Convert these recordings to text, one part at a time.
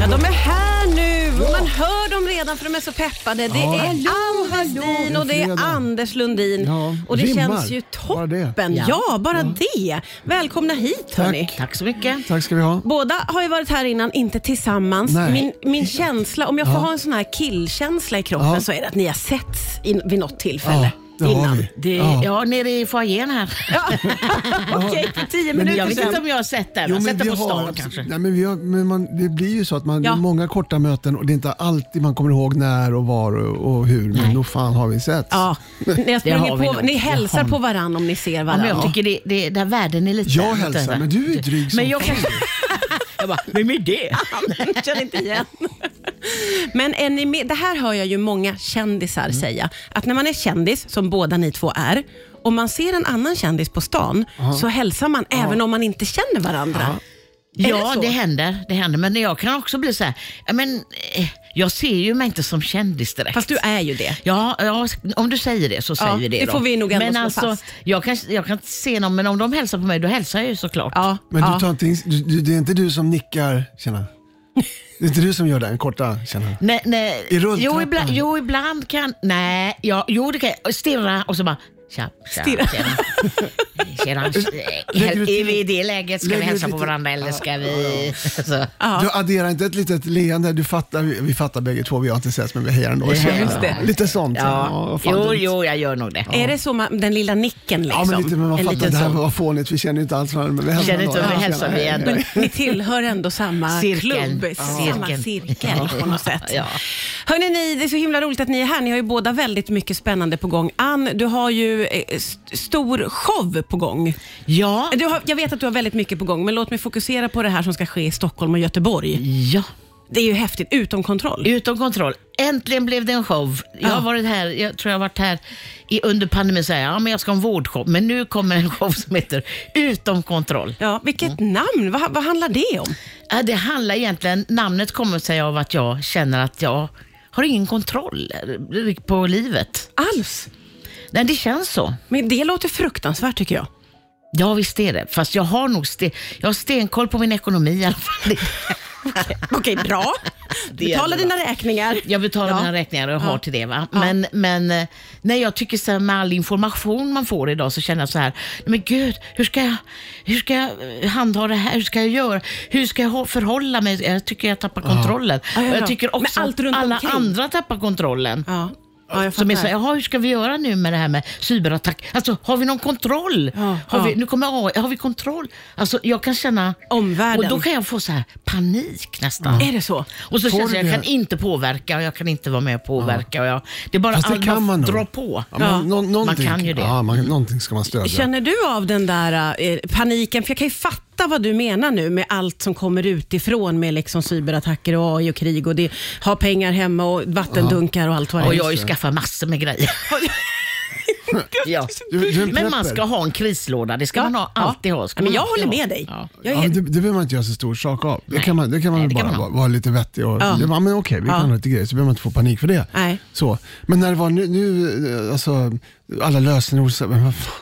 Ja, de är här nu och man hör dem redan för de är så peppade. Det Ja. är Ann Westin och det är Fredag. Anders Lundin. Ja, Och det rimmar. känns ju Bara det. toppen. Ja, bara det. Välkomna hit hörni. Tack så mycket. Tack ska vi ha. Båda har ju varit här innan, inte tillsammans. Nej. Min, min känsla, om jag får ha en sån här killkänsla i kroppen Ja. så är det att ni har setts i, vid något tillfälle Ja, det har innan. vi. Det, ja. Ja. nere i foajén här. Okej, för tio Men minuter jag vet sedan. inte om jag har sett den. Jag Jo, har men sett den vi på stan har- kanske. Nej, men vi har, men man, det blir ju så att man, det Ja. är många korta möten och det är inte alltid man kommer ihåg när och var och, och hur. Men nog fan har vi sett. Ja, ni, har Det har vi sprungit på, nog. ni hälsar på varandra om ni ser Ja, men varandra. jag tycker det, det, den världen är lite... Jag hälsar, men du är ju dryg som Men jag fan. kanske... jag bara, vem är det? Jag känner inte igen. Men är ni med? det här hör jag ju många kändisar Mm. säga. Att när man är kändis, som båda ni två är, om man ser en annan kändis på stan så hälsar man även om man inte känner varandra. Är Ja, så? det, händer. Det händer. Men jag kan också bli så här, ja, men, eh, jag ser ju mig inte som kändis direkt. Fast du är ju det. Ja, ja, om du säger det så säger vi det. det då. får vi nog ändå men slå alltså, fast. Jag kan, jag kan inte se någon, men om de hälsar på mig, då hälsar jag ju såklart. Ja, Men ja. du tar inte, in- du, du, det är inte du som nickar, tjena. Det är inte du som gör den korta, tjena. Nej, nej. I rulltrappan. jo, ibland, jo, ibland kan... Nej, ja, jo, det kan jag. Stirra och så bara... Tja, tja, Stirra. Tjena. Tjena. Lägger du till- Är vi i det läget? Ska lägger vi du hälsa lite- på varandra eller ska vi... Så. Du adderar inte ett litet leende. Du fattar, vi, vi fattar bägge två, vi har inte setts men vi hejar ändå. Tjena. just det. Lite sånt. Ja. vad fan Jo, dumt. jo, jag gör nog det. Är det så man, den lilla nicken liksom? Ja, men lite, men man En fattar, liten det här sån. var fånigt. Vi känner ju inte alls varandra. men vi hälsar Känner inte ändå. varandra, Ja, hälsar vi tjena. ändå. Ni tillhör ändå samma Cirkeln. klubb, Ja. samma Cirkeln. cirkel på något sätt. Ja. Hörrni, ni, det är så himla roligt att ni är här. Ni har ju båda väldigt mycket spännande på gång. Ann, du har ju eh, st- stor show på gång. Ja. Du har, jag vet att du har väldigt mycket på gång, men låt mig fokusera på det här som ska ske i Stockholm och Göteborg. Ja. Det är ju häftigt, utom kontroll. Utom kontroll. Äntligen blev det en show. Jag Ja. har varit här, jag tror jag har varit här i, under pandemin så här, ja men jag ska ha en vårdshow. Men nu kommer en show som heter Utom kontroll. Ja, vilket Mm. namn, vad, vad handlar det om? Ja, det handlar egentligen, namnet kommer sig av att jag känner att jag har ingen kontroll på livet. Alls. Nej, det känns så. Men det låter fruktansvärt tycker jag. Ja, visst är det. Fast jag har nog ste- jag har stenkoll på min ekonomi i alla fall. Okej, bra. är Betala bra. dina räkningar. Jag betalar Ja. mina räkningar och jag har till det. Va? Men, men eh, nej, jag tycker så här, med all information man får idag så känner jag så här, "Nej, men gud, hur ska jag, hur ska jag eh, handha det här? Hur ska jag göra? Hur ska jag ha- förhålla mig? Jag tycker jag tappar kontrollen. Ja, ja, Och ja. Jag tycker också Men allt att runt alla omkring. andra tappar kontrollen. Ja. Ja, jag Som är så, fattar. här, jaha, hur ska vi göra nu med det här med cyberattack? Alltså, har vi någon kontroll? Ja, har ja. Vi, nu kommer AI, har vi kontroll? Alltså, jag kan känna... Omvärlden. Och då kan jag få så här panik nästan. Är det så? Och så Får känns det, du jag det? kan inte påverka och jag kan inte vara med och påverka. Och jag, det är bara Fast det all- kan man nog. dra på. Ja, man, nå- någonting- kan ju det. Ja, man, någonting ska man stödja. Känner du av den där eh, paniken? För jag kan ju fatta vad du menar nu med allt som kommer utifrån med liksom cyberattacker och AI och krig och det, ha pengar hemma och vattendunkar och allt vad det Och är. jag har ju skaffat massor med grejer. ja. Du- du är en Men man prepper. ska ha en krislåda, det ska man ha, alltid ha. Ska Ja, men man jag alltid håller ha. med dig. Ja. Jag Ja, är, men det, det behöver man inte göra så stor sak av. Det kan man, det kan man Nej, väl det kan bara man ha. vara, vara lite vettig och ja. men okej, vi kan Ja. ha lite grejer så behöver man inte få panik för det. Nej. Så. Men när det var nu, nu eh, alltså, alla lösenord, så, men vad fan.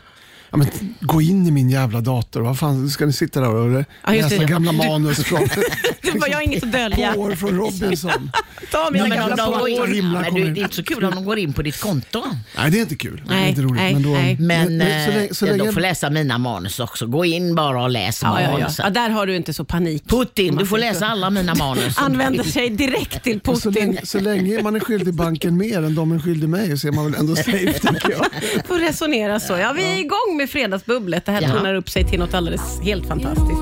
Ja, men, gå in i min jävla dator, vad fan ska ni sitta där och eh, Ja, just läsa det. gamla manus från det var jag har inget att dölja. år från Robinson? Ta Ja, mina men gamla om de pappa går frågor. in, himla men kommer du, in. det är inte så kul om de går in på ditt konto. Nej, det är inte kul. det Nej, är inte roligt. nej, men då, nej. Men, men så eh, länge, så ja, länge, de får läsa mina manus också. Gå in bara och läs Ja, ja, ja. manusen. ja, där har du inte så panik. Putin, du får läsa alla mina manus. Använder sig direkt till och så, Alltså, Putin. länge, så länge man är skyldig banken mer än de är skyldig mig så är man väl ändå safe, tänker jag. Får resonera så. Ja, vi är igång med Fredagsbubblet. Det här Ja. tornar upp sig till något alldeles helt fantastiskt.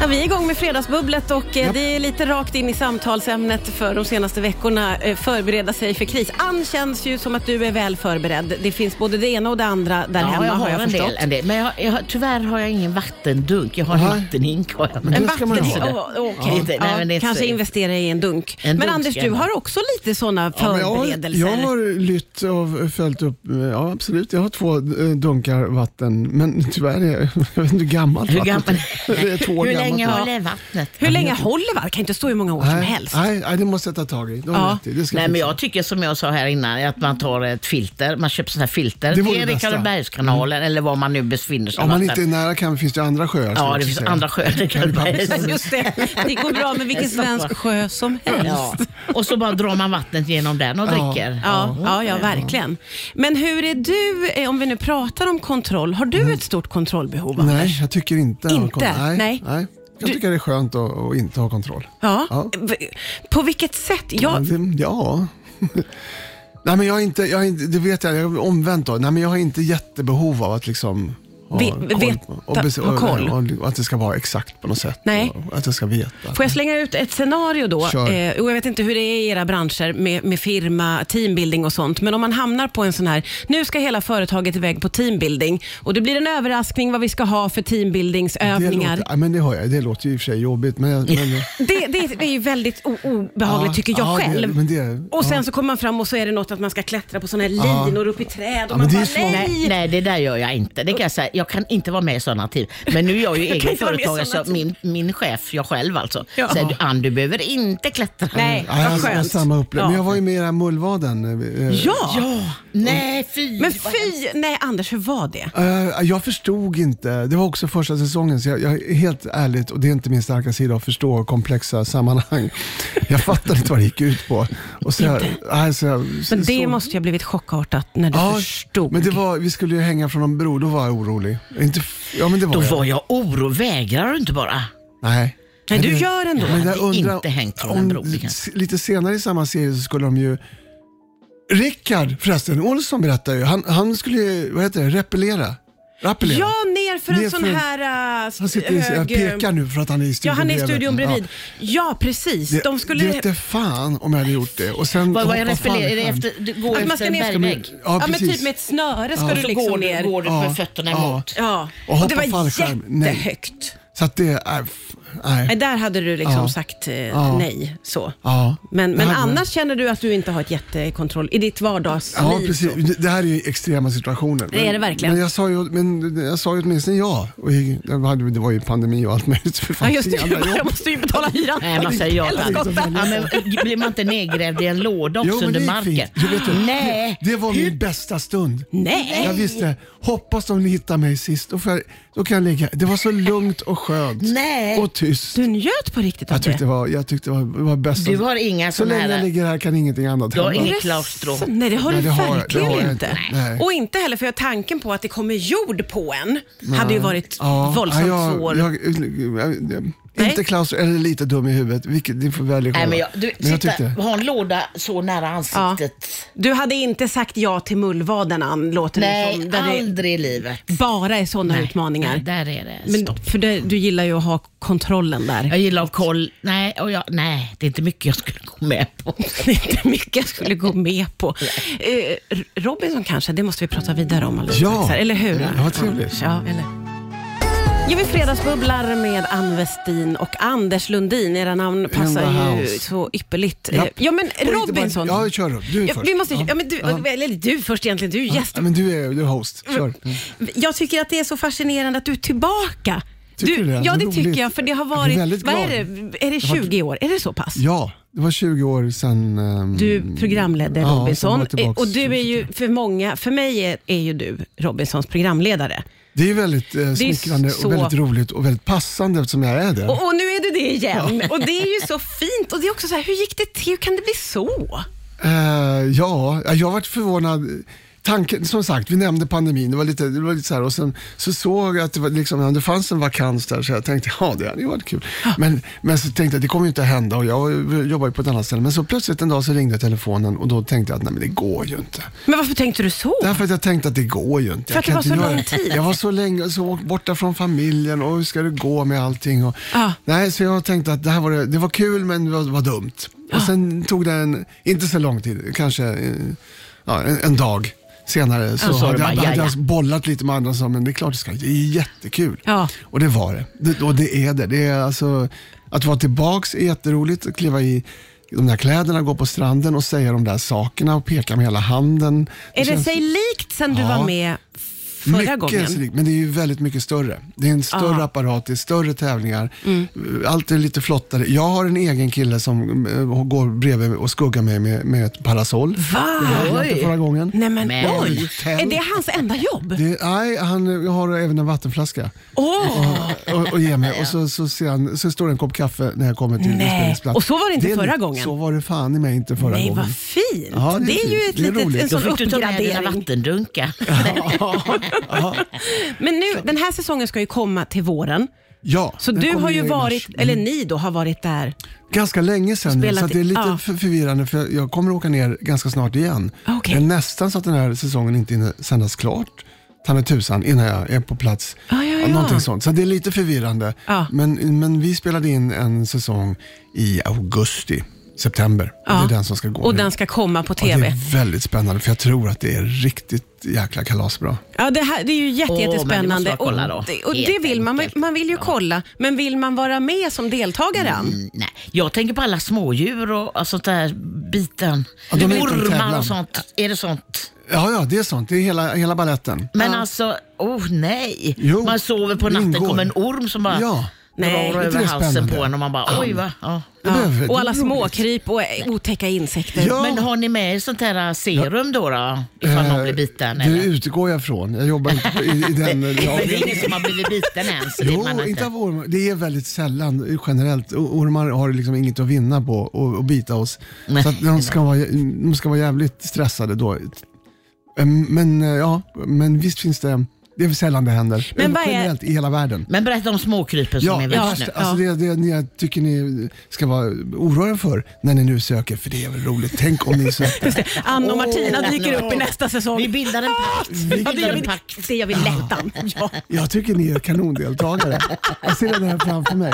Ja, vi är igång med Fredagsbubblet och eh, det är lite rakt in i samtalsämnet för de senaste veckorna. Eh, förbereda sig för kris. Ann känns ju som att du är väl förberedd. Det finns både det ena och det andra där hemma jag har har jag en förstått. del, en del. Men jag, jag, tyvärr har jag ingen vattendunk. Jag har en Aha. vattenhink. Har jag. Men det ska man ju Vatten- ha. Åh, åh, Ja. Okej, Inte- nej, Ja, men det är inte kanske så- investera i en dunk. En men dunk Anders, ska du jag ha. har också lite sådana Ja, men jag, har, förberedelser. jag har lytt och följt upp, eh, ja absolut, jag har två eh, dunkar vatten, men tyvärr är jag, jag vet inte hur gammalt Hur vattnet gammal? är. Det är två år Hur gammalt. länge gammalt. håller vattnet? Hur länge håller varv? Kan inte stå hur många år som Nej, helst. Nej, nej, det måste jag ta tag i. De Ja. ja. det ska Nej, jag men fixa. jag tycker som jag sa här innan, att man tar ett filter, man köper sådana här filter Det vore till det bästa. Karlbergskanalen eller var man nu befinner sig. Om man inte någonstans. är nära kan finns det andra sjöar. som jag ja, det också finns säger. andra sjöar än Ja, Karlbergs. Just det. Det går bra med vilken svensk sjö som helst. Ja. Och så bara drar man vattnet genom den och dricker. Ja, ja, ja, verkligen. Men hur är du, eh, om vi nu pratar om kontroll, har du ett stort kontrollbehov? Mm. Nej, jag tycker inte. jag har Inte? kon- Nej. Nej. nej. Jag tycker det är skönt att, att inte ha kontroll. Ja. Ja. Mm. V- På vilket sätt? Ja. Jag, Det, ja. nej, men jag är inte, jag är inte, det vet jag, jag är omvänt då. Nej, men jag har inte jättebehov av att liksom ha Ve- veta- på- och, bes- ha koll. och, och att det ska vara exakt på något sätt. Nej. Och att jag ska veta. får jag slänga ut ett scenario då? Eh, Kör. och jag vet inte hur det är i era branscher med, med firma, teambuilding och sånt, men om man hamnar på en sån här, nu ska hela företaget iväg på teambuilding och det blir en överraskning vad vi ska ha för det, teambuildingsövningar. låter, ja, men det, har jag, det låter ju i och för sig jobbigt, men, jag, men Det, det, det är ju väldigt o- obehagligt Ja, tycker jag ja, det- själv. men det- och sen ja. så kommer man fram och så är det något att man ska klättra på sådana här Ja. linor upp i träd och Ja, man men det är bara ju smart. nej. Nej, nej, det där gör jag inte. Det kan jag, säga. jag kan inte vara med i sådana team. Men nu är jag ju kan egen inte vara med i företagare, sådana så min, min chef, jag själv alltså, Ja. säger du, Ann, du behöver inte klättra. Nej, Ja, jag, vad jag har skönt. samma upplevelse. Men Ja. jag var ju med i den här mullvaden. eh, Ja. Ja, nej fy. men fy, nej Anders hur var det? Eh, jag förstod inte. Det var också första säsongen, så jag, jag är helt ärligt, och det är inte min starka sida att förstå komplexa sammanhang. Jag fattade inte vad det gick ut på. Och så jag, nej, så jag, Men det så, måste ju ha blivit chockartat när du Ja, förstod. Men det var, vi skulle ju hänga från en bro, då var jag orolig. Inte, f- ja, men det var Då jag. var jag orovägrare inte bara. Nej. Nej, du gör ändå. Men jag hade undrar inte hängt från om- en bro, det kanske. Lite senare i samma serie så skulle de ju Rickard förresten, Olsson berättar ju, han, han skulle ju, vad heter det, repellera. Rappellera. Ja, ner för Ner en sån för en- här äh, Han sitter i, jag pekar nu för att han är i Ja, studion han är i bredvid. studion bredvid. Ja. Ja, precis. Det, De skulle... det vete fan om jag hade gjort det. Och sen Vad, vad är hoppa repeller- fallskärm. Är det efter, du går att man efter ska en ner... bergvägg? Ja, Ja, men precis. typ med ett snöre ska du Så liksom går ner. du, går du Ja, med fötterna ja. emot? Ja, Och och det hoppa var fallskärm. Nej. jättehögt. Så att det är... f- Nej, Nej. där hade du liksom Ja. sagt eh, Ja. nej. Så. Ja. Men, Det men hade- annars känner du att du inte har ett jättekontroll i ditt vardagsliv? Ja, precis. Det- Det här är ju extrema situationer. Det är det verkligen. Men jag sa ju, men jag sa ju åtminstone ja. Och jag, det var- det var ju pandemi och allt möjligt. För Ja, fan, just det. jävla jobb. Jag måste ju betala hyran. Nej, alltså- man säger ja. tack. Helskotta. Ja, men, blir man inte nedgrävd i en låda också Jo, men det under gick marken? fint. Du vet ju, Nej. Det, det var min bästa stund. Nej. Jag visste, hoppas de hittar mig sist. Då, får jag, då kan jag ligga. Det var så lugnt och skönt. Nej. Och tyst. Du njöt på riktigt av Jag tyckte det? det var, jag tyckte det var, det var bäst. Du har inga så såna länge här- jag ligger här kan ingenting annat Du har hända. inget klaustro. Så- Nej, det har Nej, du det har jag- det verkligen har jag inte. inte. Nej. Och inte heller för jag tanken på att det kommer jord på en hade ju varit Ja, våldsamt jag, svår. Jag, jag, jag, Nej. inte klaustro, eller lite dum i huvudet. Vilket, ni får välja Nej, själva. men jag, du, Men jag titta, tyckte... ha en låda så nära Ja. ansiktet. Du hade inte sagt ja till mullvaden, Ann, låter det Nej, som. Där det aldrig i livet. bara är sådana Nej, utmaningar. nej, Där är det Men, stopp. för det, du gillar ju att ha kontrollen där. Jag gillar att koll. Nej, och jag, nej, det är inte mycket jag skulle gå med på. Det är inte mycket jag skulle gå med på. Eh, R- Robinson kanske, det måste vi prata vidare om alldeles Ja. strax här, eller hur? Ja, vad trevligt. Ja, eller? Ja, vi fredagsbubblar med Ann Westin och Anders Lundin. Era namn the passar ju house. så ypperligt. Eh, Japp. Ja, men Och inte Robinson. Bara, ja, kör upp. Du är Ja, först. vi måste, ja. ja. men du, Eller du först egentligen, du är gäst. Mm. Ja, men du är, du är host. Kör. Jag tycker att det är så fascinerande att du är tillbaka. Tycker du det? Ja, det Vad tycker roligt. jag. För det har Jag blir varit, väldigt vad är glad. det, är det 20 år? Är det så pass? Ja, det var 20 år sedan... ehm, Du programledde Ja, sen var jag Robinson tillbaks och du är ju för många, för mig är, är ju du Robinsons programledare. Det är ju väldigt eh, ju smickrande så- och väldigt roligt och väldigt passande eftersom jag är det. Och, och nu är du det igen och det är ju så fint och det är också så här, hur gick det till? Hur kan det bli så? Eh, ja, jag har varit förvånad. Tanken, som sagt, vi nämnde pandemin. Det var lite, det var lite så här, och sen så såg jag att det, var liksom, ja, det fanns en vakans där, så jag tänkte, ja det hade ju varit kul. Men, men så tänkte jag, det kommer ju inte att hända och jag jobbar ju på ett annat ställe. Men så plötsligt en dag så ringde telefonen och då tänkte jag att nej men det går ju inte. Men varför tänkte du så? Därför att jag tänkte att det går ju inte. För att det Jag kan var så inte lång göra- tid. Jag var så länge så borta från familjen och hur ska det gå med allting. Och, Ja. Nej, så jag tänkte att det här var, det, det var kul men det var, var dumt. Och sen tog det en, inte så lång tid, kanske eh, ja, en, en dag senare så Ja, så hade, det jag, bara, hade ja, jag ja. bollat lite med andra och sa men det är klart det ska, det är jättekul. Ja. Och det var det. det. Och det är det. det är alltså, att vara tillbaks är jätteroligt, att kliva i de där kläderna, gå på stranden och säga de där sakerna och peka med hela handen. Är det känns- sig likt sen du Ja. var med förra gången. Ah. SJ-likt, men det är ju väldigt mycket större. Det är en större Aha. apparat, det är större tävlingar. Mm. Allt är lite flottare. Jag har en egen kille som eh, går bredvid och skuggar mig med, med ett parasoll. Va? Det var inte förra gången. Nej men, Men- oj, är det hans enda jobb? Det, nej, han har även en vattenflaska Åh! och, och ger mig. Och så, så, ser han, så står det en kopp kaffe när jag kommer till Nej, inspelningsplatsen. och så var det inte förra gången. Så var det fan i mig inte förra Nej gången. vad fint. Ja, det, det är är ju fint. ett Det är litet, en roligt. sån Då fick du ta med dina uppgradering. vattendunkar. Men nu, den här säsongen ska ju komma till våren. Ja, Så den du kommer har ju i mars. Mm. varit, eller ni då har varit där. Ganska länge sedan nu, Spelat så att det är lite i- ja. för- förvirrande för jag- jag kommer åka ner ganska snart igen. Okej. Det är nästan så att den här säsongen inte hinner sändas klart, ta mig tusan, innan jag är på plats. Ja, ja, ja. Någonting sånt. Så det är lite förvirrande. Ja. Men, men vi spelade in en säsong i augusti, september. Och Ja. Det är den som ska gå Och nu. den ska komma på Och det TV. är väldigt spännande för jag tror att det är riktigt jäkla kalasbra. Ja, det, här, det är ju jätte, Åh, men det måste jättespännande. jag kolla då. och det, och det Helt vill man, enkelt. man vill ju kolla. Men vill man vara med som deltagare? Mm. Ann? Nej, jag tänker på alla smådjur och och sånt där biten. Ja, de är inte en Ormar tävlan. och sånt. Är det sånt? Ja, ja, det är sånt. Det är hela, hela balletten. Men alltså, oh nej. Jo, man sover på det natten, ingår. kommer en orm som bara Ja. Nej, drar inte över det halsen på spännande? en och man bara oj va. Ja. Det behöver- det Och är alla roligt. småkryp och eh, otäcka insekter. Ja. Men har ni med er sånt här äh, serum då? då ifall någon blir biten? Eh, det Eller? utgår jag från. Jag jobbar inte på- i, i den... Det är väl ingen ja. som har blivit biten än? Så det Jo, man har inte av ormar. Det är väldigt sällan eh, generellt. O- Ormar har liksom inget att vinna på och, och bita oss. Nej. Så att de, ska vara, de ska vara jävligt stressade då. Eh, Men eh, ja, men visst finns det, det är väl sällan det händer. Men vad är- Generellt i hela världen. Men berätta om småkrypen som Ja, är det värst värsta, nu. alltså det, det ni tycker ni ska vara oroade för när ni nu söker, för det är väl roligt. Tänk om ni söker. Ann och Åh. Martina dyker upp i nästa säsong. Vi bildar en pakt. Ja, det Vi gör bildar en vi, pakt. det gör vi lättan. Ja. Jag tycker ni är kanondeltagare. Jag ser den här framför mig.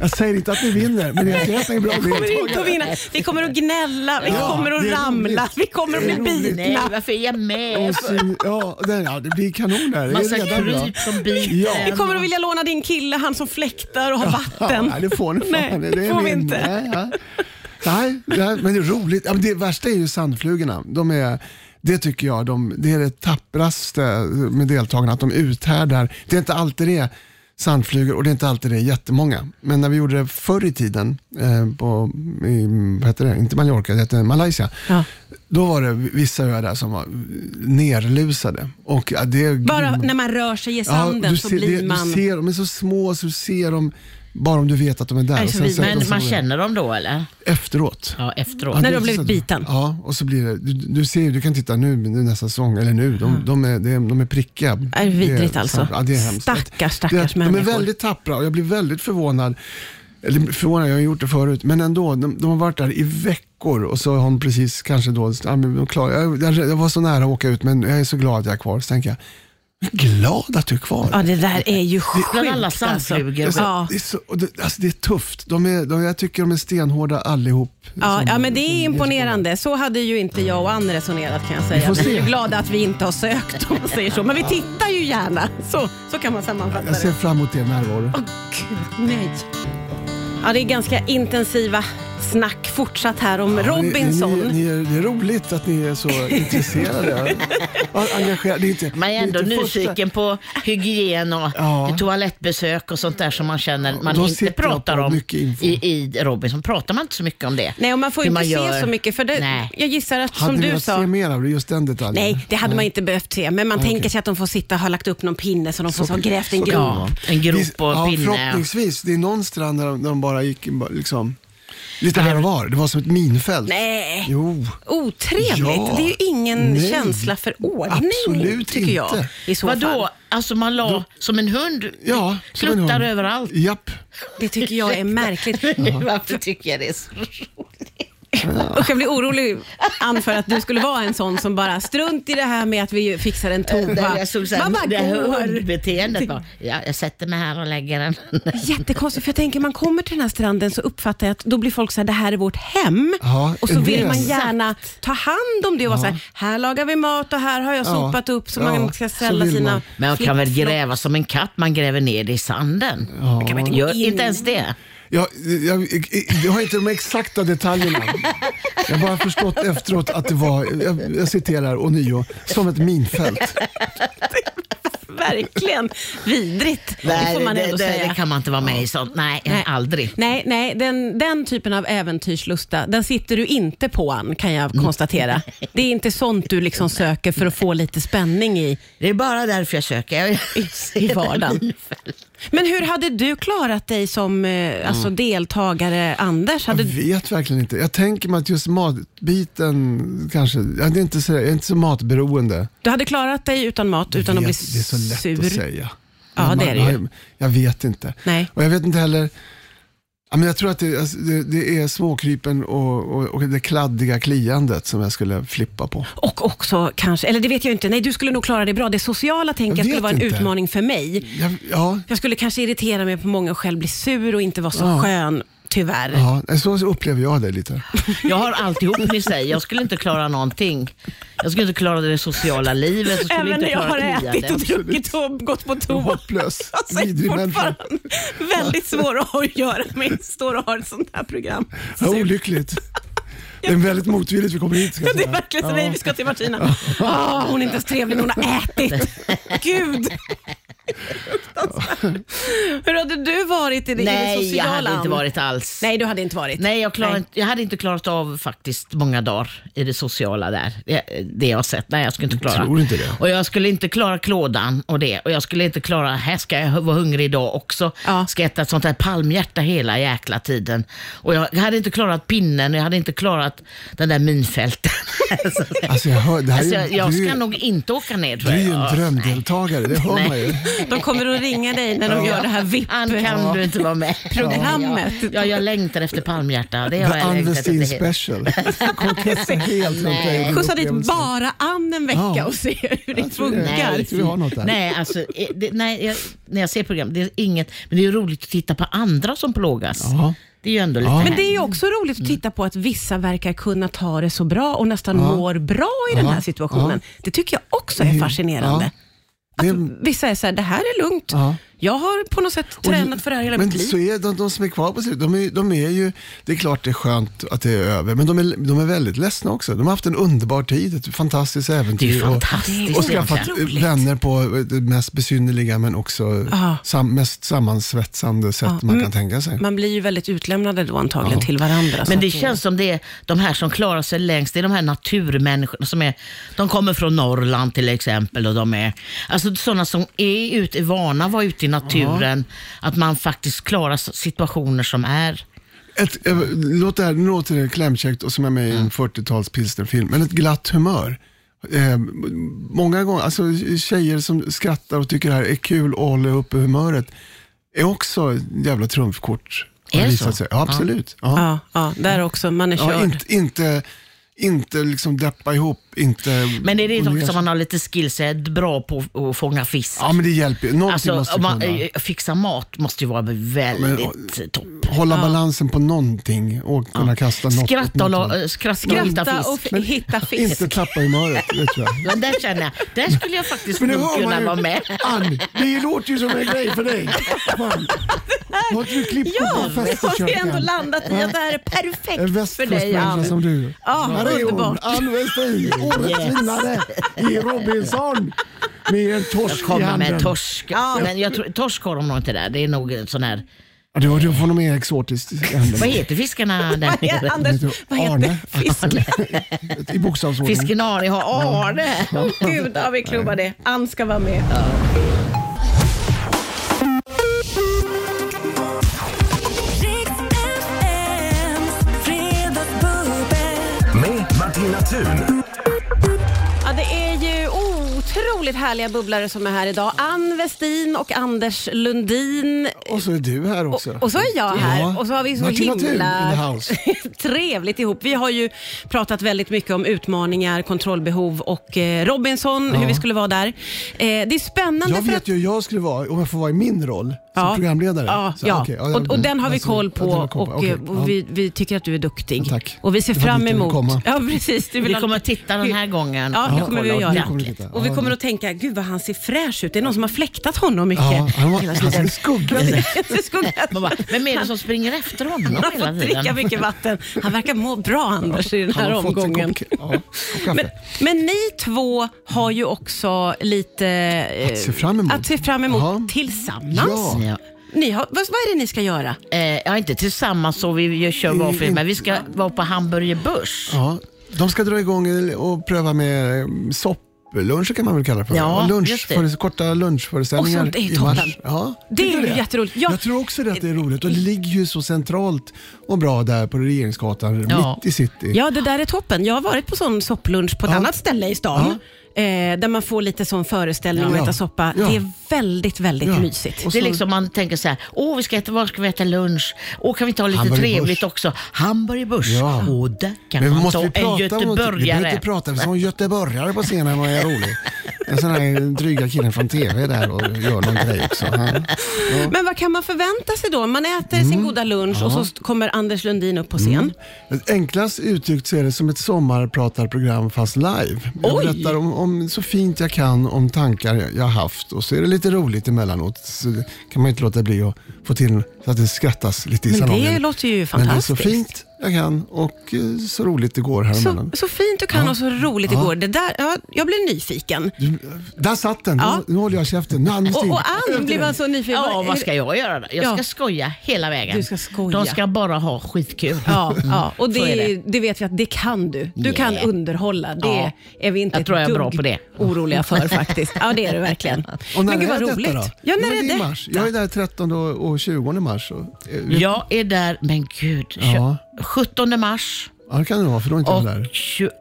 Jag säger inte att ni vinner, men jag ser att ni är bra kommer inte att deltagare. vinna. Vi kommer att gnälla, vi Ja, kommer det att är ramla, roligt. vi kommer att Det bli är roligt. Nej, bitna. varför är jag med? Och så- Ja, det, ja, det blir kanon där. Det Massa är redan bra. kryp som biter Ja. Vi kommer att vilja låna din kille, han som fläktar och har vatten. Ja, det får ni fan. Nej, det, är får vi min- inte. Nej, ja. nej, nej, men det är roligt. Ja, men Det värsta är ju sandflugorna. De är, det tycker jag, de, det är det tappraste med deltagarna, att de uthärdar. Det är inte alltid det är sandflugor och det är inte alltid det är jättemånga. Men när vi gjorde det förr i tiden, eh, på, i, vad heter det, inte Mallorca, det heter Malaysia, Ja. då var det vissa öar där som var nerlusade. Och, ja, det är Bara grymt. när man rör sig i Ja, sanden du så ser- blir det- man... Du ser, de är så små så du ser dem bara om du vet att de är där. Nej, Och så sen vi- sätter de Men sig man på- känner dem då eller? Efteråt. Ja, efteråt. Ja, När det är du har blivit så- biten. Ja, och så blir det, du, du ser ju, du kan titta nu, nu nästa säsong, eller nu, de, de, är, de, de är prickiga. Mm. Är vidrigt alltså. Ja, det är hemskt. Stackars, Det- stackars De är människor. väldigt tappra och jag blir väldigt förvånad. Eller förvånad, jag har gjort det förut, men ändå, de, de har varit där i veckor och så har hon precis kanske då, ja, men de klarar- jag, jag, jag var så nära att åka ut men jag är så glad att jag är kvar. Så tänker jag, glad att du är kvar. Ja, det där är ju sjukt Bland alla alltså. sandflugor. Ja. Det, är så, och det, alltså det är tufft. De är, de, jag tycker de är stenhårda allihop. Ja, Som- ja, men det som- är imponerande. Så hade ju inte jag och Ann resonerat kan jag säga. får Vi, är se. ju glada att vi inte har sökt om man säger så. Men vi tittar ju gärna. Så, så kan man sammanfatta Jag ser det. fram emot er närvaro. Åh gud, nej. Ja, det är ganska intensiva snack fortsatt här om Robinson. Ni, ni, ni, är- det är roligt att ni är så intresserade. Ja, Engagerade. Det är inte, Man är ändå det är inte nyfiken på hygien och Ja. toalettbesök och sånt där som man känner man då inte sitter jag pratar på om mycket info. i, i Robinson. Pratar man inte så mycket om det? Nej, och man får ju Hur inte man se gör. så mycket. För det, Nej. jag gissar att Hade som ni du velat sa... se mer av det, just den detaljen? Nej, det hade man inte behövt se. Men man tänker sig att de får sitta och ha lagt upp någon pinne så de får så, grävt en Ah, så kan grop. det vara. Ja. Ja, en grop Vi- och ja, pinne. Förhoppningsvis. Det är någon strand där de, där de bara gick bara liksom, lite här och var. Det var som ett minfält. Nej. Jo. Otrevligt. Ja. Det är ju ingen Nej. känsla för ordning, Absolut tycker jag. inte. I så fall. Vadå? Alltså man la som en hund? Ja, som en Kluttar hund. överallt. Japp. Det tycker jag är märkligt. Varför tycker jag det är så Usch, jag blir orolig, Ann, för att du skulle vara en sån som bara strunt i det här med att vi fixar en toa. Äh, Där jag såg så Man här, det här bara går. hundbeteendet. bara, Ja, jag sätter mig här och lägger den. Jättekonstigt, för jag tänker man kommer till den här stranden så uppfattar jag att då blir folk så här, det här är vårt hem. Ja, och så en vill del. man gärna ta hand om det och vara så här, här lagar vi mat och här har jag Ja. sopat upp så Ja, man ska så ställa vill sina man. Men man kan väl flip-flop. gräva som en katt, man gräver ner det i sanden. Kan man inte gå Gör in? inte ens det. Jag, jag, jag har inte de exakta detaljerna. Jag har bara förstått efteråt att det var, jag, jag citerar ånyo, som ett minfält. verkligen vidrigt. det får man det, ändå det, säga. det kan man inte vara med i sånt. Nej, aldrig. Nej, nej den, den typen av äventyrslusta, den sitter du inte på Ann, kan jag konstatera. Det är inte sånt du liksom söker för att få lite spänning i. Det är bara därför jag söker. Jag ser det vardagen. minfältet. Men hur hade du klarat dig som eh, alltså, Mm. deltagare, Anders? Hade, Jag vet verkligen inte. Jag tänker mig att just matbiten kanske, jag är inte så, jag är inte så matberoende. du hade klarat dig utan mat, utan att Jag bli vet, Det är så lätt sur? att säga. Ja, Men det är det ju. jag- Jag vet inte. Nej. Och jag vet inte heller, ja, men jag tror att det, alltså, det, det är småkrypen och, och, och det kladdiga kliandet som jag skulle flippa på. Och också kanske, eller det vet jag inte, nej du skulle nog klara det bra. Det sociala tänker jag Jag skulle vet vara en inte. utmaning för mig. Jag, ja, Jag skulle kanske irritera mig på många och själv bli sur och inte vara så Ja. skön, tyvärr. ja, så upplever jag det lite. Jag har alltihop med sig. Jag skulle inte klara någonting. Jag skulle inte klara det sociala livet. Jag skulle Även inte när jag klara har ätit och kliandet. druckit och gått på toa. Hopplös, Alltså, jag är vidrig fortfarande människa. väldigt svår att ha att göra med. Står och har ett sånt här program. Ja, Sur. olyckligt. Det är väldigt motvilligt vi kommer hit. Ska jag Det är säga. verkligen så. Nej, vi ska till Martina. Ah, hon är inte ens trevlig när hon har ätit. Gud. Hur hade du varit i det, i det Nej, jag sociala? hade inte Ann? varit alls. Nej, du hade inte varit. Nej, jag, klarar Nej. Inte, jag hade inte klarat av faktiskt många dagar i det sociala där. Det, det jag har sett. Nej, jag skulle inte klara. tror inte det. Och jag skulle inte klara klådan och det. Och jag skulle inte klara, här ska jag vara hungrig idag också. Ja. Ska äta ett sånt här palmhjärta hela jäkla tiden. Och jag, jag hade inte klarat pinnen och jag hade inte klarat den där minfälten. alltså, Alltså, jag hör, det här alltså, är, jag, ju- jag du, är- ska nog inte åka ner du tror är jag. ju en Nej. drömdeltagare, det hör man ju. De kommer att ringa dig när de gör det här VIP. Ann, kan du inte vara med? Programmet. Ja, ja, jag längtar efter palmhjärta. Det har The jag Ann längtat Westin efter. special. Koketsen helt runt dig. Skjutsa dit bara Ann en vecka Ja. och se hur det Jag tror det. funkar. Nej. tror vi har något där. Nej, alltså, eh, det, nej jag, när jag ser program, det är inget, men det är ju roligt att titta på andra som plågas. Ja. Det är ju ändå lite Ja. Men det är härligt. ju också roligt att titta på att vissa verkar kunna ta det så bra och nästan mår bra i den Mm. Ja. här situationen. Det tycker jag också är Mm. fascinerande. Det Alltså, är- Att vissa är så här, det här är lugnt. Ja. Jag har på något sätt Och- tränat för det här hela men mitt liv. Så är de, de som är kvar på slutet, de är, de är ju, det är klart det är skönt att det är över, men de är, de är väldigt ledsna också. De har haft en underbar tid, ett fantastiskt Det är äventyr. ju och- fantastiskt Och egentligen. skaffat Otroligt. vänner på eh, det mest besynnerliga men också Ah. Ja. sam, mest sammansvetsande sätt man Mm. kan tänka sig. Man blir ju väldigt utlämnade då antagligen till varandra. så Men det att känns som det är de här som klarar sig längst, det är de här naturmänniskorna som är, de kommer från Norrland till exempel och de är, alltså sådana som är ute, är vana att vara ute i naturen, att man faktiskt klarar s- situationer som är. Ett, eh, låt det här låter det klämkäckt och som är med Mm. i en 40-tals pilsnerfilm, men ett glatt humör. Eh, m- många gånger, alltså tjejer som skrattar och tycker det här är kul och håller uppe humöret, är också ett jävla trumfkort. har Är det visat så? sig. Ja, absolut. Ja. Ja, ja, där också. Man är körd. Ja, inte, inte, inte liksom deppa ihop, inte... Men är det och de ner- som man har lite skills, är bra på att fånga fisk? Ja, men det hjälper ju. Någonting Alltså, måste om man, kunna. eh, fixa mat måste ju vara väldigt eh, topp. Hålla balansen på någonting och kunna kasta något. åt Skratta något och la- håll. eh, skratt, skratta Skratta och fisk. f- hitta fisk. Inte tappa humöret, det tror jag. Men där känner jag, där skulle jag faktiskt Men nu nog hör kunna man vara ju, med. Ann, det låter ju som en grej för dig. Fan. Har inte du klippt Ja, bort då den har vi ändå festkörkan? landat i att det här är En perfekt för dig västkustmänniska Ann. som du. Ja, Här är hon, underbart. Ann Westin, årets Yes. vinnare i Robinson. Med en torsk i Kommer handen. med torsk. Men jag tror, torsk har de nog inte där. Det är nog en sån här, Ja, du, du får nog mer exotiskt i handen. vad heter fiskarna där Ja, nere? Anders, vad heter Arne. fisken? I bokstavsordning. Fisken Arne har Arne. Åh Gud, ja, vi klubbar det. Ann ska vara med. Riks FMs fredagsbubbel. Med Martina Thun. Ja, det är ju otroligt härliga bubblare som är här idag. Ann Westin och Anders Lundin. Och så är du här också. Och så är jag här och så har vi så Martina Thun in the himla house. trevligt ihop. Vi har ju pratat väldigt mycket om utmaningar, kontrollbehov och eh, Robinson, hur vi skulle vara där. Eh, Det är spännande Jag för vet att... ju hur jag skulle vara om jag får vara i min roll. som programledare? Ja, Så, ja. okej, ja, och, och den har vi alltså, koll ja, på den har vi och, Okej, eh, ja. och vi, vi tycker att du är duktig. Tack. Och vi ser Det var dit fram jag ville emot... komma. Ja, precis. Du vill Vi ha- kommer att titta den här gången. Ja, det Ja, kommer vi ja, att det göra. kommer vi att titta. Och vi Ja. kommer att tänka, gud vad han ser fräsch ut. Det är någon som har fläktat honom mycket. Ja, han var, Hela han tiden. ser skugga. Det skulle- Man bara, vem är det som springer efter honom Han hela har fått dricka tiden? mycket vatten. Han verkar må bra Anders i den här har fått en omgången. kopp- ja, kopp kaffe. Men, men ni två har ju också lite eh, Att se fram emot. att se fram emot Ja. tillsammans. Ja. Ja. Ni har, vad, vad är det ni ska göra? Eh, ja, inte tillsammans så vi gör- kör varför, men vi ska vara på Hamburger Börs. Ja, de ska dra igång och pröva med eh, soppluncher kan man väl kalla det för. Ja, Och lunch, just det. före- Korta lunchföreställningar Och sånt är ju i mars. toppen. Ja, Det tycker är du ju jätteroligt. Ja. Jag tror också det att det är roligt och det ligger ju så centralt och bra där på Regeringsgatan, Ja. mitt i city. Ja, det där är toppen. Jag har varit på sån sopplunch på ett Ja. annat ställe i stan. Eh, där man får lite sån föreställning och Ja. äta soppa. Ja. Det är väldigt, väldigt Ja. mysigt. Och Det är så- liksom man tänker så här, åh vi ska äta, var ska vi äta lunch? Åh kan vi inte ha lite Hamburger trevligt Börs. också? Hamburger Börs, Ja. åh där kan Men man måste ta vi en prata om någonting? Vi behöver göteborgare. inte prata som en göteborgare på scenen och är rolig. En sån här dryga killen från TV där och gör någon grej också. Ja. Men vad kan man förvänta sig då? Man äter Mm. sin goda lunch och så st- kommer Anders Lundin upp på scen. Enklast uttryckt så är det som ett sommarpratarprogram fast live. Jag Oj! berättar om, om så fint jag kan om tankar jag- jag haft och så är det lite roligt emellanåt. Så kan man inte låta bli att få till så att det skrattas lite i Men det salongen. låter ju Men det är så fantastiskt. fint jag kan och eh, så roligt det går här Så, emellan. så fint du kan Ja. och så roligt det Ja. går. Det där, ja, jag blir nyfiken. Du, där satt den, Ja. nu, nu håller jag käften. Nu är Ann Och, still. och Ann blir man så nyfiken. Ja, vad ska jag göra då? Jag Ja. ska skoja hela vägen. Du ska skoja. De ska bara ha skitkul. Ja, ja, och Så det, är det. det. vet vi att det kan du. Du Yeah. kan underhålla. Det Ja. är vi inte Jag tror jag är ett bra dugg på det. oroliga för faktiskt. Ja, det är du verkligen. Och när Men gud är vad detta roligt. Då? Ja, när Jo, är i det? mars. Jag är där 13 och och 20 mars. Och, eh, vi- Jag är där, men gud, tjo- Ja. 17 mars ja, det kan det vara för då är inte jag och där. Mm. 22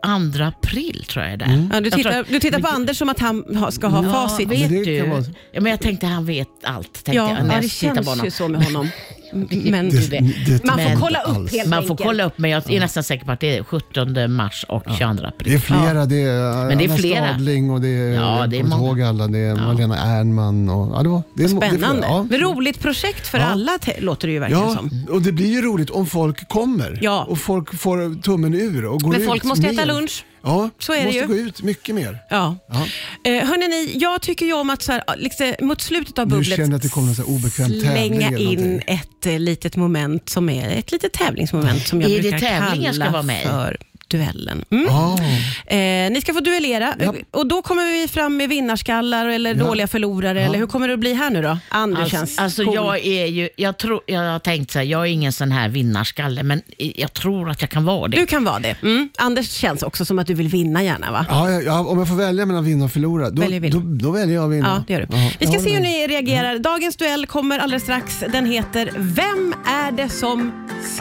april tror jag är där. Ja, du, Jag tror- tittar, du tittar på Anders som att han ha- ska ha Ja, facit. vet Men det du. kan vara- Ja, men jag tänkte han vet allt. Tänkte Ja, jag, när ja, jag det tittar på känns honom. ju så med honom. Men Det- det man tror jag får inte kolla upp alls. helt Man får enkelt. kolla upp, men jag är nästan säker på att det är 17 mars och 22 april. Det är flera. Det är, Men det är Anna flera. Stadling och det är, Ja, jag det är kommer inte många. ihåg alla. Det är Malena Ernman och ja, det var, det är, det är flera. Spännande. Ja. Men roligt projekt för alla te- låter det ju verkligen Ja, som. och det blir ju roligt om folk kommer Ja. och folk får tummen ur och går Men ut folk måste liksom mer. äta lunch. Ja, Så är det måste ju. gå ut mycket mer. Ja. Ja. Eh, hörni, ni, jag tycker ju om att så här, liksom, mot slutet av Nu bubblet känner jag att det kommer en så här obekväm tävling slänga eller in någonting. ett eh, litet moment som är ett litet tävlingsmoment som jag Är det brukar kalla tävlingen ska vara med i? för duellen. Mm. Ja. Eh, ni ska få duellera Ja. och då kommer vi fram med vinnarskallar eller Ja. dåliga förlorare. Eller hur kommer det att bli här nu då? Ann, du känns Alltså, alltså cool. jag är ju, jag tror, jag har tänkt så här, jag är ingen sån här vinnarskalle, men jag tror att jag kan vara det. Du kan vara det. Mm. Anders känns också som att du vill vinna gärna va? Ja, ja, ja, om jag får välja mellan vinna och förlora, då Väljer väljer, vinna. då, då väljer jag vinna. Ja, det gör du. Ja, Vi ska jag se hur håller med. ni reagerar. Dagens duell kommer alldeles strax. Den heter Vem är det som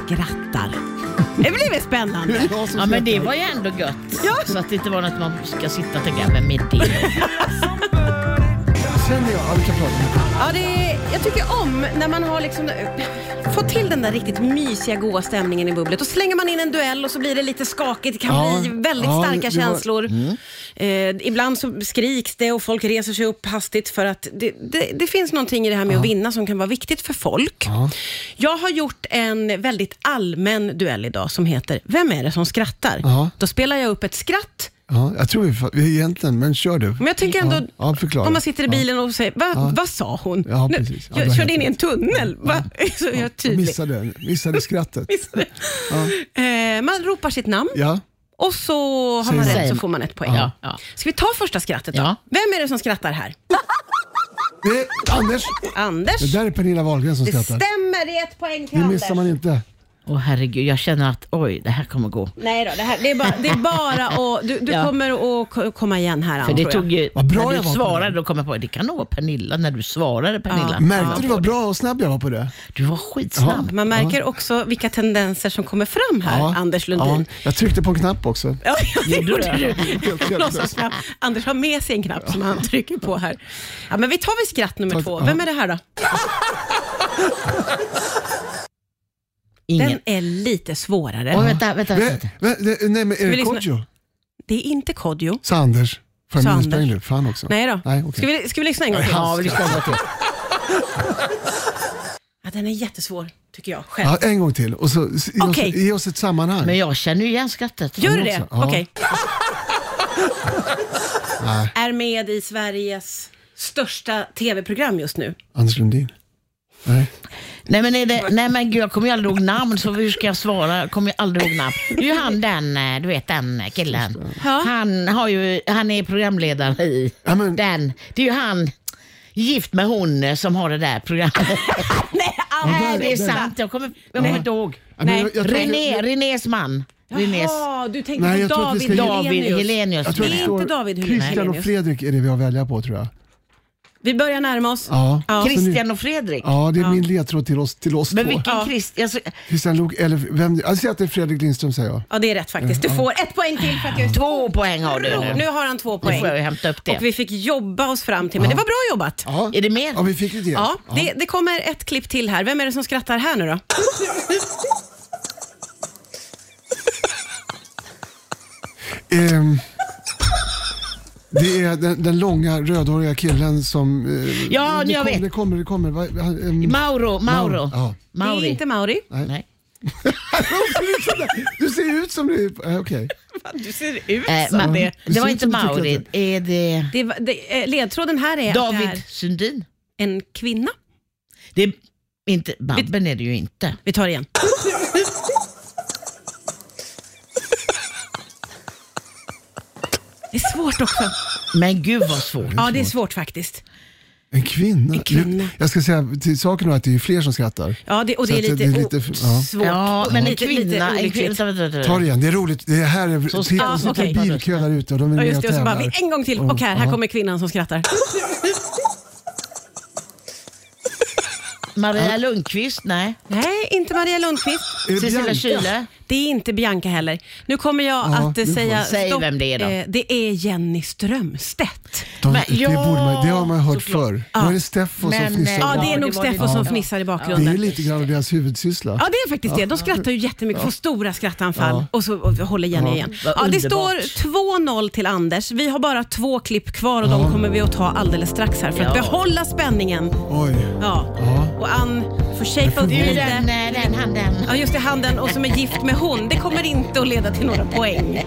skrattar? Det blir väl spännande? Ja, så Ja, men det skrattar. var ju ändå gött. Så att det inte var något man ska sitta och tänka, vem är det? Känner jag, ja, vi kan prata om det. Ja, det är, jag tycker om när man har liksom fått till den där riktigt mysiga, goa stämningen i bubblet. Och slänger man in en duell och så blir det lite skakigt. Det kan Ja, bli väldigt ja, starka det var- Mm. känslor. Eh, ibland så skriks det och folk reser sig upp hastigt för att det, det, det finns någonting i det här med att vinna som kan vara viktigt för folk. Jag har gjort en väldigt allmän duell idag som heter Vem är det som skrattar? Ja. Då spelar jag upp ett skratt Ja, jag tror vi, vi egentligen, men kör du. men jag tänker ändå, Ja, ja, förklara. om man sitter i Ja. bilen och säger, Va, vad sa hon? Ja, Nu, precis. Ja, du jag har körde helt in i en rätt. tunnel. Va? Så jag är tydlig. Missade, missade skrattet. Missade. Eh, man ropar sitt namn Ja. och så har man Säger rätt man. så får man ett poäng. Ja, ja. Ska vi ta första skrattet då? Ja. Vem är det som skrattar här? Nej, Anders! Anders? Det där är Pernilla Wahlgren som Det skrattar. stämmer, det är ett poäng till Det Anders. missar man inte. Åh herregud, jag känner att oj, det här kommer gå. Nej då, det, här, det, är bara, det är bara att... Du, du Ja. kommer att ko- komma igen här, Ann, För det tror jag. tog ju, Vad bra när jag du var på svarade det. då kom jag på, det kan nog vara Pernilla, när du svarade Pernilla. Märkte du vad bra och snabb jag var på det? Du var skitsnabb. Man märker också vilka tendenser som kommer fram här, Anders Lundin. Ja. Jag tryckte på en knapp också. Ja, jag gjorde det? det. Låtsas knapp. Anders har med sig en knapp som han trycker på här. Ja, men vi tar väl skratt nummer Ta- två. ja. Vem är det här då? Ingen. Den är lite Oj, svårare. vänta, vänta. Vä- vänta. vä- det- nej, men är vi det lyssna? Kodjo? Det är inte Kodjo. Sa Anders. Får Sa jag minuspoäng Anders. nu? Fan också. Nej då. Nej, okej. ska, vi, ska vi lyssna en gång till? Ja, vi lyssnar på det. Ja, den är jättesvår, tycker jag själv. Ja, en gång till och så s- ge, Okej. oss, ge oss ett sammanhang. Men jag känner ju igen skrattet. Gör du men det? också, ja. Okej. Är med i Sveriges största tv-program just nu. Anders Lundin? Nej. Nej men, är det, nej men gud, jag kommer ju aldrig ihåg namn så hur ska jag svara? Jag kommer ju aldrig ihåg namn. Det är ju han den, eh, du vet den killen. Ja. Han, har ju, han är programledare i Ja, men- den. Det är ju han, gift med hon eh, som har det där programmet. Nej, nej aldrig. det är sant, jag kommer, jag kommer inte ihåg. Ja, men Nej, jag, jag, tror, jag, René, Renés man. Renés, Jaha, du tänker Nej, jag på tror att vi David ska- David Helenius. jag tror att Det det är står inte David Helenius. Christian och Fredrik är det vi har att välja på tror jag. Vi börjar närma oss. Ja, Ja. Så ni- Christian och Fredrik. ja det är min ledtråd till oss, till oss Men två. vilken Ja. Christian? Alltså, Christian Lok, eller vem, jag säger att det är Fredrik Lindström säger jag. Ja, det är rätt faktiskt. Du får ett poäng till för att jag är två poäng har du nu. Nu har han två Nu poäng. får jag ju hämta upp det. Och vi fick jobba oss fram till, men det var bra jobbat. Ja. Är det mer? Ja, vi fick det. Ja, det, det kommer ett klipp till här. Vem är det som skrattar här nu då? Ehm, det är den, den långa rödhåriga killen som... eh, Ja, det jag kom, vet. Det kommer, det kommer. Va, va, ehm, Mauro, Mauro. Mauro, ja. Det Mauri. är inte Mauri. Nej. du ser ut som du... eh, Okej. Du ser ut Eh, som ma- det. Du det ser var ut inte som du tycker Mauri, att är det det, var- det eh, ledtråden här är att det är David Sundin? en kvinna. Det är inte, Babben är det ju inte. Vi tar det igen. Det är svårt också. Men gud vad svårt. Ja, det är svårt faktiskt. En kvinna. En kvinna. Jag ska säga till saken är att det är fler som skrattar. Ja, det, och det Så är att det lite, är lite- o- ja. svårt. Ja, Och men en lite- kvinna, lite en kvinna. olyckligt. vänta, vänta, vänta. Ta det igen, det är roligt. Det här är... Så- titta, Ja, det sitter okej. en bilkö där ute och de är Ja, med just och det. Och så bara, tävlar. vi, en gång till. Och här, här ja. kommer kvinnan som skrattar. Maria Lundqvist? Nej. Nej, inte Maria Lundqvist. Är det Cecilia Bianca? Kyle? Det är inte Bianca heller. Nu kommer jag Ja, att eh, nu får- säga Säg vem det är då. Eh, det är Jenny Strömstedt. De, Men- det, ja, borde man, det har man hört såklart. förr. Då är det Steffo som Men, eh, fnissar. Ja, det Ja, är det nog var det. Steffo som Ja. fnissar i det är bakgrunden. lite grann av deras huvudsyssla. Ja, det är faktiskt det. De skrattar ju jättemycket, får stora skrattanfall och så och håller Jenny igen. Vad Ja, det står underbart. 2-0 till Anders. Vi har bara två klipp kvar och de kommer vi att ta alldeles strax här för att Ja. behålla spänningen. Oj. Ja. Ja. Och Ann får shapea upp Det är ju lite. den, eh, den, han, den. Ja, just det, handen och som är gift med hon. Det kommer inte att leda till några poäng.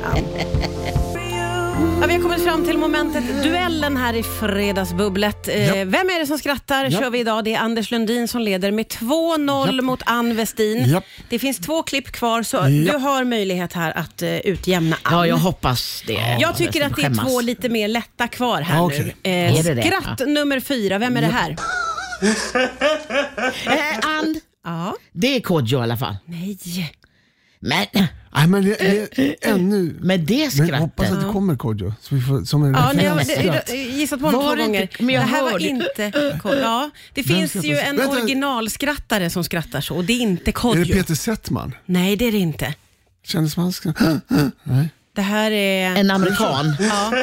Ja, vi har kommit fram till momentet duellen här i Fredagsbubblet. Eh, Ja. Vem är det som skrattar Ja. kör vi idag. Det är Anders Lundin som leder med 2-0 Ja. mot Ann Westin. Ja. Det finns två klipp kvar så Ja. du har möjlighet här att eh, utjämna Ann. Ja, jag hoppas det. Jag tycker att det är Skämmas. två lite mer lätta kvar här Ja, okej. nu. Eh, Är det det? skratt nummer fyra, vem är det här? Eh, and, Ja. det är Kodjo i alla fall. Nej. Men Nej, men det är ännu... med det Men hoppas skrattet. att det kommer Kodjo. Så vi får, som en Ja, ni har referens. det- det- det- gissat på honom Var två det inte- gånger. men jag det här var hörde- inte Kodjo. Ja, det finns skrattar ju så? en Vänta. originalskrattare som skrattar så och det är inte Är Kodjo. det Peter Settman? Nej, det är det inte. Kändes man skrattar? Nej. Det här är... En amerikan. Ja,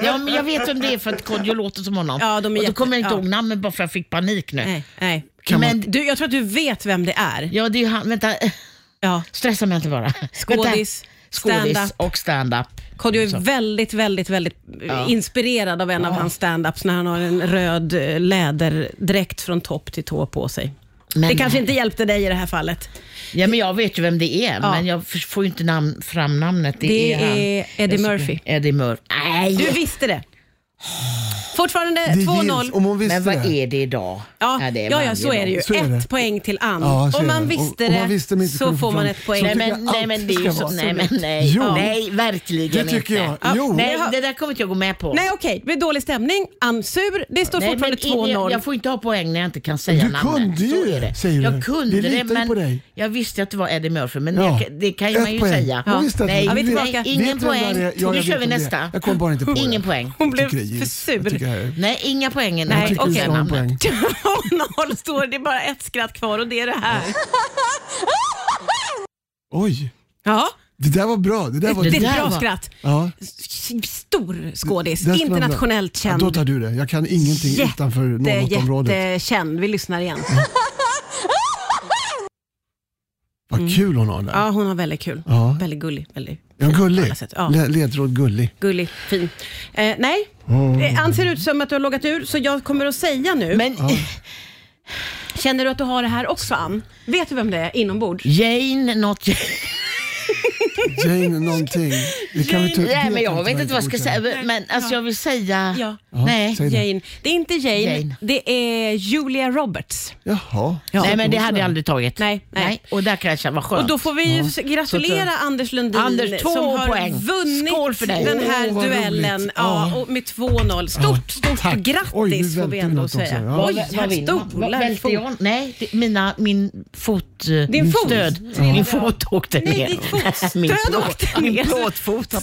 Ja, men jag vet om det är för att Kodjo låter som honom. Ja, de är och då jätte- kommer jag inte ja. ihåg namnet bara för jag fick panik nu. nej, nej. Kan man- men Du, jag tror att du vet vem det är. ja, det är ju han. Vänta, Ja, stressa mig inte bara. Skådis, Vänta. Skådis stand-up. och stand-up. Kodjo är väldigt, väldigt, väldigt eh, inspirerad av en av hans standups när han har en röd eh, läderdräkt från topp till tå på sig. Men- det kanske inte hjälpte dig i det här fallet. Ja, men jag vet ju vem det är, men jag för- får ju inte namn, fram namnet. Det, Det är, han. är Eddie Jag ska- Murphy. Eddie Murphy. Nej, Du visste det. Fortfarande Det gills, 2-0. om hon visste men vad det. är det idag? Ja, det är ja, varje ja, så är det dag. ju. Så är ett det. poäng till Ann. Ja, så om är man det. visste Och- och det, man visste men inte så kunde får få man fram- ett poäng. så Nej, tycker men, jag nej, allt men det är ju ska så, vara nej, men så. nej. Jo. Nej, verkligen Det tycker inte. jag. Jo. Nej, Jag- det där kommer inte jag gå med på. Nej okej, det är dålig stämning. Ann sur. Det står Nej, men fortfarande in- jag, 2-0. jag får inte ha poäng när jag inte kan säga Du namnet. kunde ju så det, är det. säger du. jag kunde Vi det, litar ju men på dig. jag visste att det var Eddie Murphy, men Ja. det, det kan ju Ett man ju poäng. säga. Ja, visst att- Nej, Ja, vi är nej, tillbaka. ingen Vet du vem poäng. det är? Ja, nu jag kör vet vi vem det är. nästa. Jag kom bara inte på det. Ingen poäng. Hon Jag blev tycker det är för gills. Jag sur. tycker det här är- Nej, inga poäng. Nej, Nej, jag tycker du okej. ska ha en poäng. 2-0 står det. är bara ett skratt kvar och det är det här. Oj, Ja, det där var bra. Det där var... det är ett där bra var- skratt. Ja. S- Stor skådis, Det där ska man bra. internationellt känd. Ja, då tar du det. Jag kan ingenting utanför Norrbottensområdet. jättekänd. Vi lyssnar igen. Vad kul hon har där. mm. Ja, hon har väldigt kul. Ja. Väldigt gullig. Väldigt Ja, gullig. alla sätt. Ja. Le- Ledtråd gullig. Gullig, fin. Eh, nej, eh, han ser ut som att du har loggat ur, så jag kommer att säga nu. Men Känner du att du har det här också, Ann? Vet du vem det är inombords? Jane, något... Jane någonting. Det kan vi ta- Nej, det men kan jag vi vet ta inte vad jag ska bort. säga. Men alltså jag vill säga... Ja. Nej. säg det. Jane. Det är inte Jane, Jane. det är Julia Roberts. Jaha. Nej, men det hade jag aldrig tagit. Nej, nej. Och där kan jag känna, vad skönt. Och då får vi ju s- gratulera Anders Lundin eh, Anders, två som har poäng. vunnit Skål för dig. den här Åh, vad duellen roligt. ja, Ja. och med 2-0. Stort, stort tack. grattis Oj, nu får vi välte ändå något också, säga. ja. Oj, här stolar. Välte fot- jag? Nej, det, mina, min fot... Din fot? Stöd. Min fot åkte Nej, ner. ditt fotstöd plåt- åkte ner. Min plåtfot.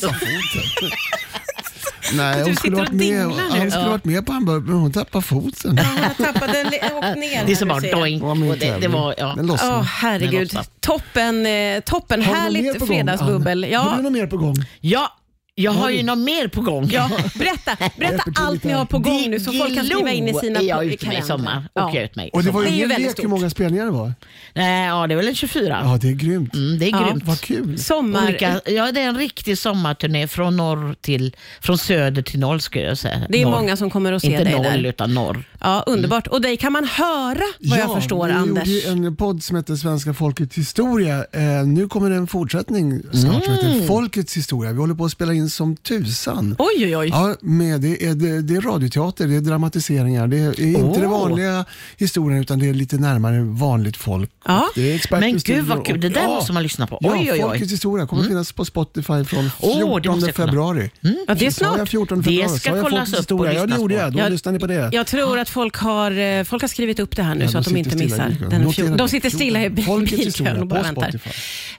Nej, hon skulle sitter varit och med, dinglar nu. hon skulle Ja. varit med på hamburgaren, men hon tappade foten. Han har tappat den, li- åkt ner. Det är som här, bara du ser. doink. var min Och det, det tävling. var, ja. Den lossnade. Ja, Den herregud. lossnade. Toppen, eh, toppen Har du något mer härligt på gång, fredagsbubbel. Ann? Har Ja, du något mer på gång? ja, jag har ju något mer på gång. ja, berätta berätta hjälper till allt lite ni här. har på gång nu så folk kan skriva in i sina är jag i ute med i kalendern. sommar. Ja. Åker jag ut med. i Och det var Det ju är ju ingen väldigt lek stort. hur många spelningar det var. Nej, ja, det är väl en 24. Ja, det är grymt. Mm, det är Ja. grymt. Vad kul. Sommar... Olika, ja, det är en riktig sommarturné från, norr till, från söder till norr skulle jag säga. Det är norr. många som kommer att se Inte dig noll, där. utan norr. Ja, underbart. Och dig kan man höra vad jag förstår vi Anders. gjorde ju en podd som heter Svenska folkets historia. Eh, nu kommer det en fortsättning snart som heter Folkets historia. Vi håller på att spela in som tusan. Oj, oj, oj. Ja, med det, är, det, det är radioteater, det är dramatiseringar. Det är inte Oh. den vanliga historien utan det är lite närmare vanligt folk. Ja. Och Det är experter Men i gud, studion vad kul. och- Det där måste man lyssna på. Ja, Oj, oj, oj. Folkets historia kommer finnas på Spotify från Åh, det måste 14 jag kolla. februari. Ja, det är Sa jag snart. 14 Det februari? ska Sa jag kollas Folkets upp och historia? Ja, det lyssnas gjorde på. jag. Då Jag- lyssnar ni på det. Jag tror att folk har, eh, folk har skrivit upp det här nu Ja, så att de inte sitter stilla i missar. bilkön. Den Notera fjol- de det. sitter stilla i bil- Folkets bilkön historia och bara på väntar. Spotify.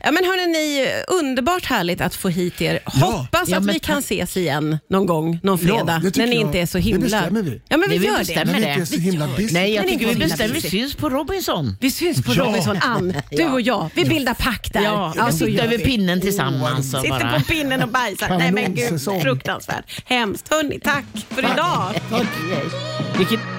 Ja, men hörni, ni, underbart härligt att få hit er. Hoppas Ja, att men vi tack. kan ses igen någon gång, någon Ja, fredag, det tycker när ni jag. inte är så Det himla... bestämmer vi. Ja, men vi Nej, vi gör bestämmer. det. Men det. det är så himla busy. Nej, jag Men tycker inte vi på bestämmer. Vi Villa syns på Robinson. Vi syns på Ja. Robinson, Ann. Du och jag. Vi bildar pakt där. Ja, vi alltså, sitter över pinnen tillsammans. och Sitter bara... på pinnen och bajsar. Nej men gud, Kanonsäsong. fruktansvärt. Hemskt. Hörni, tack för idag. Vilket...